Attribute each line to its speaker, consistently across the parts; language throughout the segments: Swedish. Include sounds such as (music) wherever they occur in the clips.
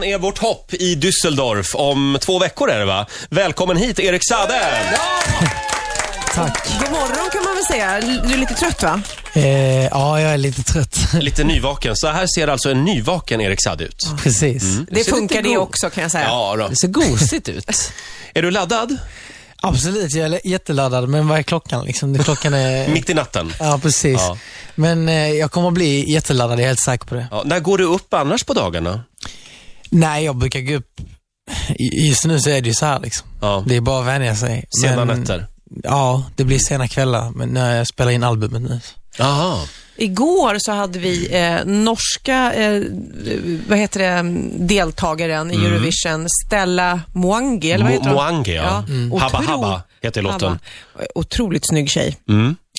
Speaker 1: ner vårt hopp i Düsseldorf om två veckor är det va? Välkommen hit Erik Sade!
Speaker 2: Tack.
Speaker 3: God morgon kan man väl säga. Du är lite trött va?
Speaker 2: Eh, ja, jag är lite trött. (laughs)
Speaker 1: Lite nyvaken. Så här ser alltså en nyvaken Erik Sade ut.
Speaker 2: Precis.
Speaker 3: Det
Speaker 1: ser
Speaker 3: funkar
Speaker 1: lite
Speaker 3: det
Speaker 1: god.
Speaker 3: också kan jag säga.
Speaker 1: Ja, då.
Speaker 2: Det ser gosigt ut.
Speaker 1: Är du laddad?
Speaker 2: (laughs) Absolut, jag är jätteladdad. Men vad är klockan liksom? Det- Klockan
Speaker 1: (laughs)
Speaker 2: är...
Speaker 1: Mitt i natten?
Speaker 2: Ja, precis.
Speaker 1: Ja.
Speaker 2: Men eh, jag kommer bli jätteladdad, jag är helt säker på det.
Speaker 1: Ja, när går du upp annars på dagarna?
Speaker 2: Nej, jag brukar gå upp... i- Just nu så är det ju så här liksom.
Speaker 1: Ja.
Speaker 2: Det är bara att vänja sig.
Speaker 1: Sena
Speaker 2: Men-
Speaker 1: nätter?
Speaker 2: Ja, det blir sena kvällar. Men när jag spelar in albumet nu.
Speaker 1: Aha.
Speaker 3: Igår så hade vi eh, norska, eh, vad heter det, deltagaren i Eurovision, Stella Mwangi, eller vad
Speaker 1: Mm. Mo-
Speaker 3: heter hon?
Speaker 1: Mwangi, ja. Mm. Habba
Speaker 3: otro-
Speaker 1: Habba heter låten. Mm.
Speaker 3: Habba. Otroligt snygg tjej.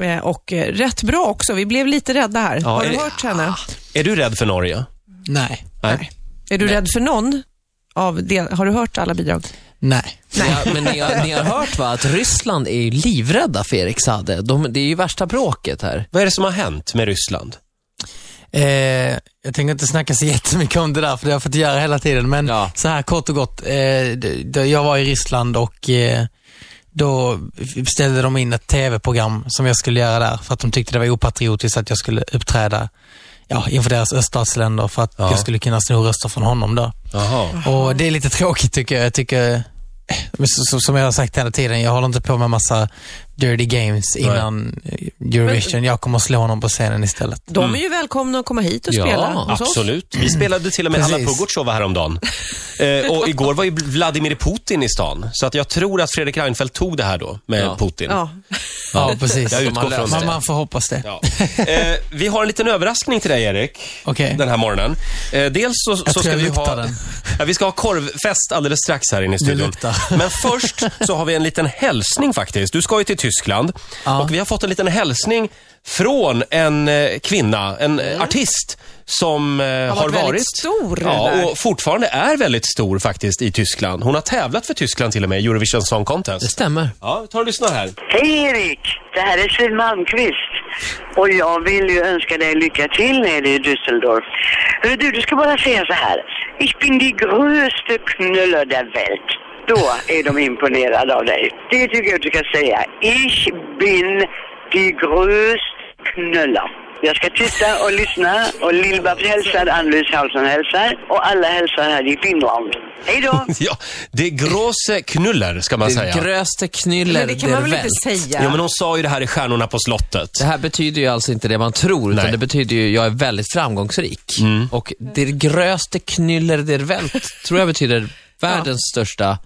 Speaker 3: Eh, och eh, rätt bra också. Vi blev lite rädda här.
Speaker 1: Ja,
Speaker 3: Har
Speaker 1: är
Speaker 3: du
Speaker 1: det- Ah.
Speaker 3: hört henne?
Speaker 1: Är du rädd för Norge?
Speaker 2: Nej.
Speaker 3: Nej. Är du rädd för någon? Av del... Har du hört alla bidrag?
Speaker 2: Nej.
Speaker 4: Ja, men ni har, ni har hört va, att Ryssland är ju livrädda för Erik Sade. De, det är ju värsta bråket här.
Speaker 1: Vad är det som har hänt med Ryssland?
Speaker 2: Eh, jag tänker inte snacka så jättemycket om det där, för det har jag fått göra hela tiden. Men
Speaker 4: Ja.
Speaker 2: så här kort och gott. Eh, det- det- jag var i Ryssland och eh, då ställde de in ett tv-program som jag skulle göra där, för att de tyckte det var opatriotiskt att jag skulle uppträda ja, inför deras öststatsländer för att
Speaker 1: Ja.
Speaker 2: jag skulle kunna sno röster från honom då.
Speaker 1: Jaha.
Speaker 2: Och det är lite tråkigt tycker jag. jag tycker, eh, men så- så- som jag har sagt hela tiden, jag håller inte på med massa dirty games innan eh, Eurovision. Jag kommer att slå honom på scenen istället.
Speaker 3: De är ju välkomna att komma hit och
Speaker 4: Ja,
Speaker 3: spela hos oss.
Speaker 1: Mm. Absolut. Vi spelade till och med
Speaker 2: Precis.
Speaker 1: Alla Pugotjova häromdagen. Eh, och igår var ju Vladimir Putin i stan. Så att jag tror att Fredrik Reinfeldt tog det här då med
Speaker 4: Ja.
Speaker 1: Putin.
Speaker 3: Ja.
Speaker 2: Ja, precis.
Speaker 1: Jag utgår
Speaker 4: Man löser
Speaker 1: från
Speaker 2: Man,
Speaker 1: det.
Speaker 2: man får hoppas det.
Speaker 1: Ja. Eh, vi har en liten överraskning till dig, Erik,
Speaker 2: Okej.
Speaker 1: den här morgonen. Eh, dels så, så
Speaker 2: tror
Speaker 1: ska
Speaker 2: jag
Speaker 1: vi
Speaker 2: luktar
Speaker 1: ha...
Speaker 2: den.
Speaker 1: Ja, vi ska ha korvfest alldeles strax här inne i studion.
Speaker 2: luktar. (laughs)
Speaker 1: Men först så har vi en liten hälsning faktiskt. Du ska ju till Tyskland
Speaker 2: Ja.
Speaker 1: och vi har fått en liten hälsning från en eh, kvinna, en eh,
Speaker 2: Mm.
Speaker 1: artist som eh, har,
Speaker 3: varit väldigt
Speaker 1: varit
Speaker 3: stor
Speaker 1: ja,
Speaker 3: där.
Speaker 1: och fortfarande är väldigt stor faktiskt i Tyskland. Hon har tävlat för Tyskland till och med i Eurovision Song
Speaker 4: Det
Speaker 1: Contest.
Speaker 4: stämmer.
Speaker 1: Ja, ta och lyssna här.
Speaker 5: Hej Erik! Det här är Siw Malmqvist. Och jag vill ju önska dig lycka till nere i Düsseldorf. Hörru du, du ska bara säga så här. Ich bin die größte Knüller der Welt. Då är de imponerade av dig. Det tycker jag du ska säga. Ich bin die größte Knüller. Jag ska titta och lyssna och Lill-Babs hälsar, Ann-Louise Hansson hälsar och alla hälsar här i Finland. Hej då!
Speaker 1: (laughs) Ja, det är Große Knuller ska man säga.
Speaker 4: Det gröste knyller
Speaker 3: Men det kan man väl
Speaker 4: der
Speaker 3: inte
Speaker 4: Welt.
Speaker 3: säga?
Speaker 1: Jo, men hon sa ju det här i Stjärnorna på slottet.
Speaker 4: Det här betyder ju alltså inte det man tror, utan
Speaker 1: Nej.
Speaker 4: det betyder ju jag är väldigt framgångsrik. Och det gröste knyller der Welt tror jag
Speaker 3: (laughs)
Speaker 4: betyder världens största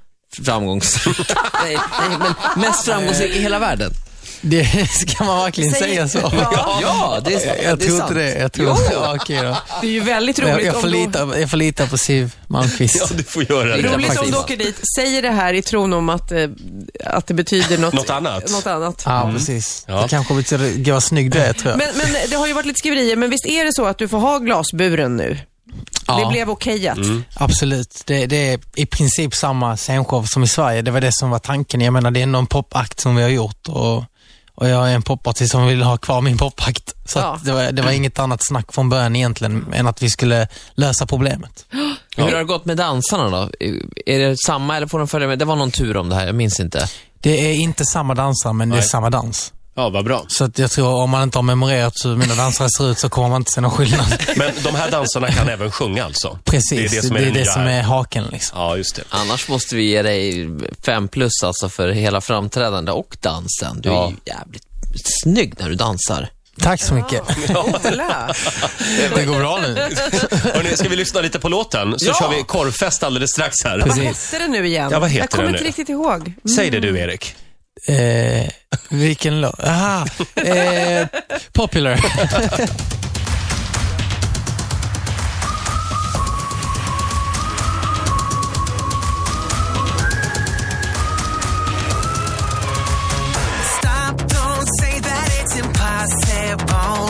Speaker 4: framgångsrik. nej, nej, men mest framgångsrik i hela världen.
Speaker 2: Det (laughs) ska man verkligen
Speaker 3: Säg-
Speaker 2: säga så?
Speaker 3: Ja.
Speaker 4: Ja, det är,
Speaker 2: Jag, jag
Speaker 4: det är
Speaker 2: tror
Speaker 4: sant.
Speaker 2: inte det. Jag tror inte ja, okej då.
Speaker 3: Det är ju väldigt (laughs) roligt
Speaker 2: Jag, jag, får
Speaker 3: om du...
Speaker 2: lita, jag får lita på Siw Malmkvist.
Speaker 1: (laughs) Ja, du får göra det.
Speaker 4: Roligt.
Speaker 3: Roligt om
Speaker 4: Faktiskt.
Speaker 3: du åker dit, säger det här i tron om att, eh, att det betyder något,
Speaker 1: Något annat.
Speaker 3: Något annat.
Speaker 2: Ja, precis.
Speaker 1: Mm. Ja.
Speaker 2: Det kanske betyder, gud vad snygg du är tror jag.
Speaker 3: Men, men det har ju varit lite skriverier, men visst är det så att du får ha glasburen nu?
Speaker 2: ja,
Speaker 3: Det blev okejat.
Speaker 2: Mm. Absolut. Det, det är i princip samma scenshow som i Sverige. Det var det som var tanken. Jag menar, det är ändå en popakt som vi har gjort och, och jag är en popartist som vill ha kvar min popakt. Så
Speaker 3: Ja.
Speaker 2: att det, var, det var inget annat snack från början egentligen än att vi skulle lösa problemet.
Speaker 4: Hur har det gått med dansarna då? Är det samma eller får de följa med? Det var någon tur om det här, jag minns inte.
Speaker 2: Det är inte samma dansare, men det
Speaker 1: Nej.
Speaker 2: är samma dans.
Speaker 1: Ja, vad bra.
Speaker 2: Så att jag tror om man inte har memorerat hur mina dansare ser ut så kommer man inte se någon (laughs) skillnad.
Speaker 1: Men de här dansarna kan även sjunga alltså?
Speaker 2: Precis, det är det som är,
Speaker 1: nya här.
Speaker 2: haken. Liksom.
Speaker 1: Ja, just det.
Speaker 4: Annars måste vi ge dig fem plus alltså för hela framträdande och dansen. Du är
Speaker 1: Ja.
Speaker 4: ju jävligt snygg när du dansar.
Speaker 2: Tack så mycket.
Speaker 3: Ola.
Speaker 2: Det går bra nu.
Speaker 1: Hörrni, ska vi lyssna lite på låten? Så
Speaker 4: Ja.
Speaker 1: kör vi korvfest alldeles strax här.
Speaker 3: Vad hette den nu igen?
Speaker 1: Ja, vad heter
Speaker 3: jag kommer
Speaker 1: den
Speaker 3: inte
Speaker 1: nu?
Speaker 3: riktigt ihåg.
Speaker 1: Säg det du, Erik.
Speaker 2: Eh, vilken låt? Aha! Eh, popular.
Speaker 6: Stop, don't say that it's impossible.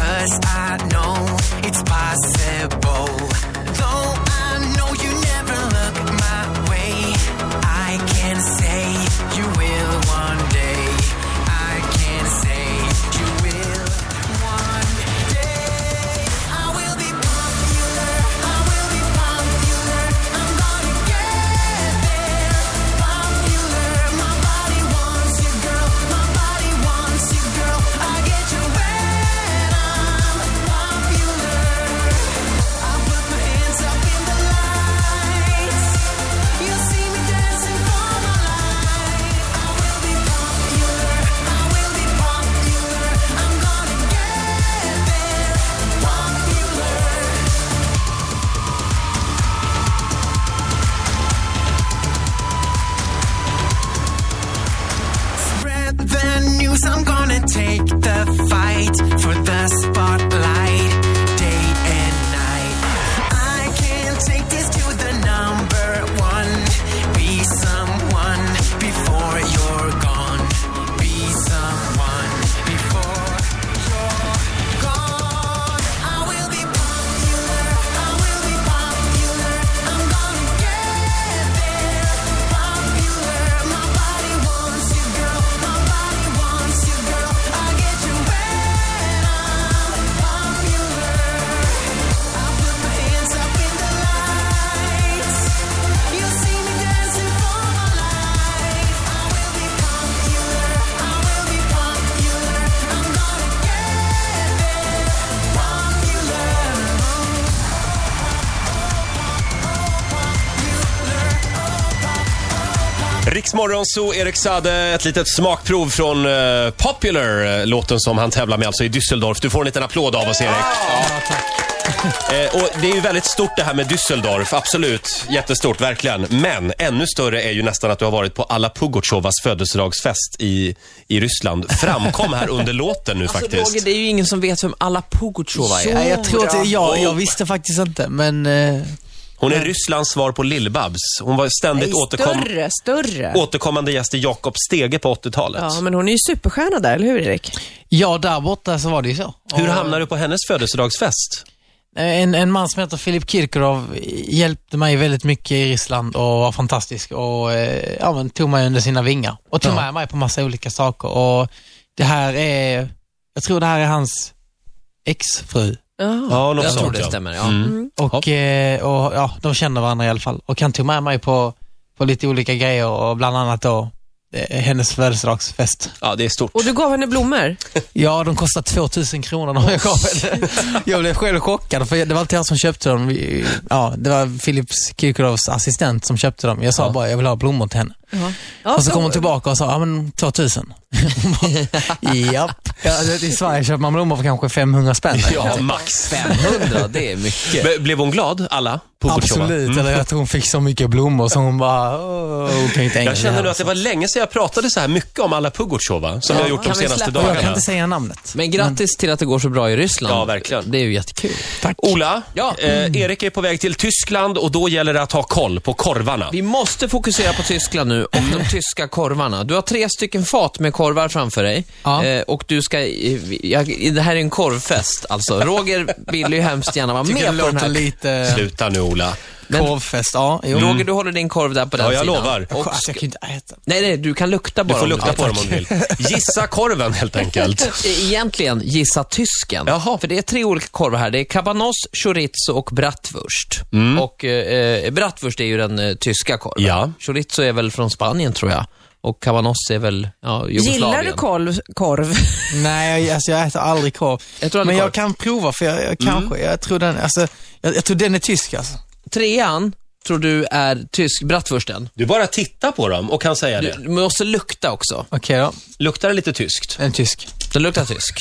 Speaker 6: Cause I know it's possible. Though I know you never look my way, I can say you will one day. I can say you will one day. I will be popular. I will be popular.
Speaker 1: Riksmorgon, så Erik Sade, ett litet smakprov från eh, Popular, eh, låten som han tävlar med alltså i Düsseldorf. Du får en liten applåd av oss, Erik.
Speaker 2: Ja, tack.
Speaker 1: Eh, och det är ju väldigt stort det här med Düsseldorf, absolut. Jättestort, verkligen. Men ännu större är ju nästan att du har varit på alla Pugotjovas födelsedagsfest i, i Ryssland. Framkom här under låten nu
Speaker 4: Alltså,
Speaker 1: faktiskt.
Speaker 4: Roger, det är ju ingen som vet vem alla Pugotjova är.
Speaker 2: Nej, jag tror att det, jag, jag visste faktiskt inte, men... eh,
Speaker 1: Hon är Rysslands svar på Lill-Babs. Hon var ständigt återkom-
Speaker 3: Större, större.
Speaker 1: återkommande gäst i Jakob Stege på 80-talet.
Speaker 3: Ja, men hon är ju superstjärna där, eller hur Erik?
Speaker 2: Ja, där borta så var det ju så.
Speaker 1: Hur
Speaker 2: Och-
Speaker 1: hamnar du på hennes födelsedagsfest?
Speaker 2: Eh, En, en man som heter Filip Kirkorov hjälpte mig väldigt mycket i Ryssland och var fantastisk och eh, ja, men, tog mig under sina vingar och tog med mig på massa olika saker. Och det här är, jag tror det här är hans exfru
Speaker 3: Ja.
Speaker 1: Ja, något
Speaker 4: Jag tror
Speaker 1: sånt,
Speaker 4: det
Speaker 1: ja.
Speaker 4: stämmer, ja.
Speaker 1: Mm.
Speaker 2: och, eh, och ja, de känner varandra i alla fall. Och han tog med mig på, på lite olika grejer och bland annat då eh, hennes födelsedagsfest.
Speaker 1: Ja, det är stort.
Speaker 3: Och du gav henne blommor?
Speaker 2: Ja, de kostar 2000 kronor när jag gav henne. (laughs) Jag blev själv chockad för det var inte jag som köpte dem. Vi- Ja, det var Philips Kirkorovs assistent som köpte dem. Jag sa bara jag vill ha blommor till henne.
Speaker 3: Ja,
Speaker 2: och så kom hon tillbaka och sa, ja
Speaker 1: (laughs)
Speaker 2: men 2000. Hon bara, Japp. Ja, det- I Sverige köper man blommor för kanske 500 spänn.
Speaker 1: Ja, max.
Speaker 4: 500, det är mycket.
Speaker 1: Be- Blev hon glad, alla? Pugotjova?
Speaker 2: Absolut, eller att hon fick så mycket blommor så hon bara, åh, hon kan inte
Speaker 1: Jag
Speaker 2: engelska
Speaker 1: känner nu
Speaker 2: här,
Speaker 1: att det var länge sedan jag pratade så här mycket om alla Pugotjova, som jag har gjort de
Speaker 4: kan vi
Speaker 1: senaste
Speaker 4: släppa-
Speaker 2: Och jag kan
Speaker 1: dagarna.
Speaker 2: inte säga namnet.
Speaker 4: Men grattis till att det går så bra i Ryssland.
Speaker 1: Ja, verkligen.
Speaker 4: Det är ju jättekul.
Speaker 2: Tack.
Speaker 1: Ola,
Speaker 4: Ja.
Speaker 1: eh, Erik är på väg till Tyskland och då gäller det att ha koll på korvarna.
Speaker 4: Vi måste fokusera på Tyskland nu och
Speaker 2: (laughs)
Speaker 4: de tyska korvarna. Du har tre stycken fat med korvar framför dig.
Speaker 2: Ja.
Speaker 4: Eh, och du ska, eh, jag, det här är en korvfest alltså. Roger vill ju hemskt gärna vara
Speaker 2: Tycker det
Speaker 4: med på den
Speaker 2: låter
Speaker 4: här.
Speaker 2: lite
Speaker 1: Sluta nu Ola.
Speaker 4: Men-
Speaker 2: korvfest. Ja, jo.
Speaker 4: Roger, du håller din korv där på den
Speaker 1: jag
Speaker 4: sidan.
Speaker 1: lovar.
Speaker 2: Jag,
Speaker 4: Och,
Speaker 2: Mm. alltså, jag kan inte äta.
Speaker 4: nej, nej, du kan lukta bara.
Speaker 1: Du får
Speaker 4: om
Speaker 1: lukta på
Speaker 4: vill.
Speaker 1: dem om du vill. Gissa korven helt enkelt.
Speaker 4: (laughs) Egentligen, gissa tysken.
Speaker 1: Jaha.
Speaker 4: För det är tre olika korvar här. Det är cabanos, chorizo och bratwurst. Och eh, eh, bratwurst är ju den eh, tyska korven.
Speaker 1: Mm. Ja.
Speaker 4: Chorizo är väl från Spanien, tror jag. Och cabanos är väl, ja, Jugoslavien.
Speaker 3: Gillar du korv? korv?
Speaker 2: Nej, jag- alltså jag äter aldrig korv.
Speaker 4: Jag tror aldrig
Speaker 2: men jag
Speaker 4: korv.
Speaker 2: kan prova för jag, jag kanske, jag tror den, alltså, jag, jag tror den är tysk alltså.
Speaker 4: Trean tror du är tysk bratwursten.
Speaker 1: Du bara tittar på dem och kan säga det.
Speaker 4: Du måste lukta också.
Speaker 2: Okej då,
Speaker 1: Luktar det lite tyskt?
Speaker 2: en tysk.
Speaker 4: Den luktar tysk.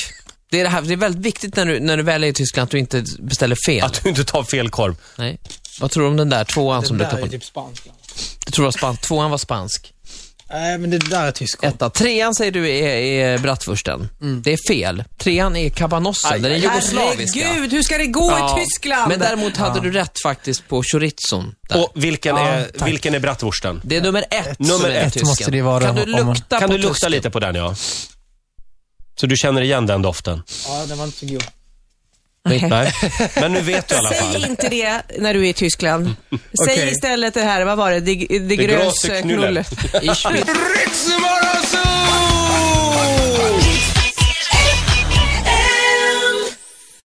Speaker 4: Det är, det, här, det är väldigt viktigt när du, när du väl är i Tyskland att du inte beställer fel.
Speaker 1: Att du inte tar fel korv.
Speaker 4: Nej. Vad tror du om den där tvåan som luktar på?
Speaker 2: typ spansk.
Speaker 4: Du tror att span- tvåan var spansk.
Speaker 2: Nej, men det där är tysk korv.
Speaker 4: Etta. Trean säger du är, är bratwursten. Det är fel. Trean är kabanossen. Den är jugoslaviska.
Speaker 3: Herregud, hur ska det gå
Speaker 4: Ja.
Speaker 3: i Tyskland?
Speaker 4: Men däremot hade du rätt faktiskt på chorizon. Där.
Speaker 1: Och vilken, är,
Speaker 2: tack.
Speaker 1: vilken är bratwursten?
Speaker 4: det är nummer ett
Speaker 1: Nummer
Speaker 4: som är
Speaker 1: ett
Speaker 4: tysken.
Speaker 2: måste det vara
Speaker 4: Kan du
Speaker 2: om- om-
Speaker 4: lukta
Speaker 1: Kan
Speaker 4: på
Speaker 1: du lukta
Speaker 4: tusken?
Speaker 1: lite på den ja? Så du känner igen den doften?
Speaker 2: Ja, den var inte så god.
Speaker 1: Nej. Men nu vet du i alla fall.
Speaker 3: Säg inte det när du är
Speaker 4: (laughs)
Speaker 3: i Tyskland. Säg
Speaker 2: Okej.
Speaker 3: istället det här, vad var det? Det, det,
Speaker 1: Det
Speaker 3: grös
Speaker 1: gråse
Speaker 3: knulle.
Speaker 1: knulle.
Speaker 4: I Schmidt-
Speaker 6: Ritzmorgonzoo!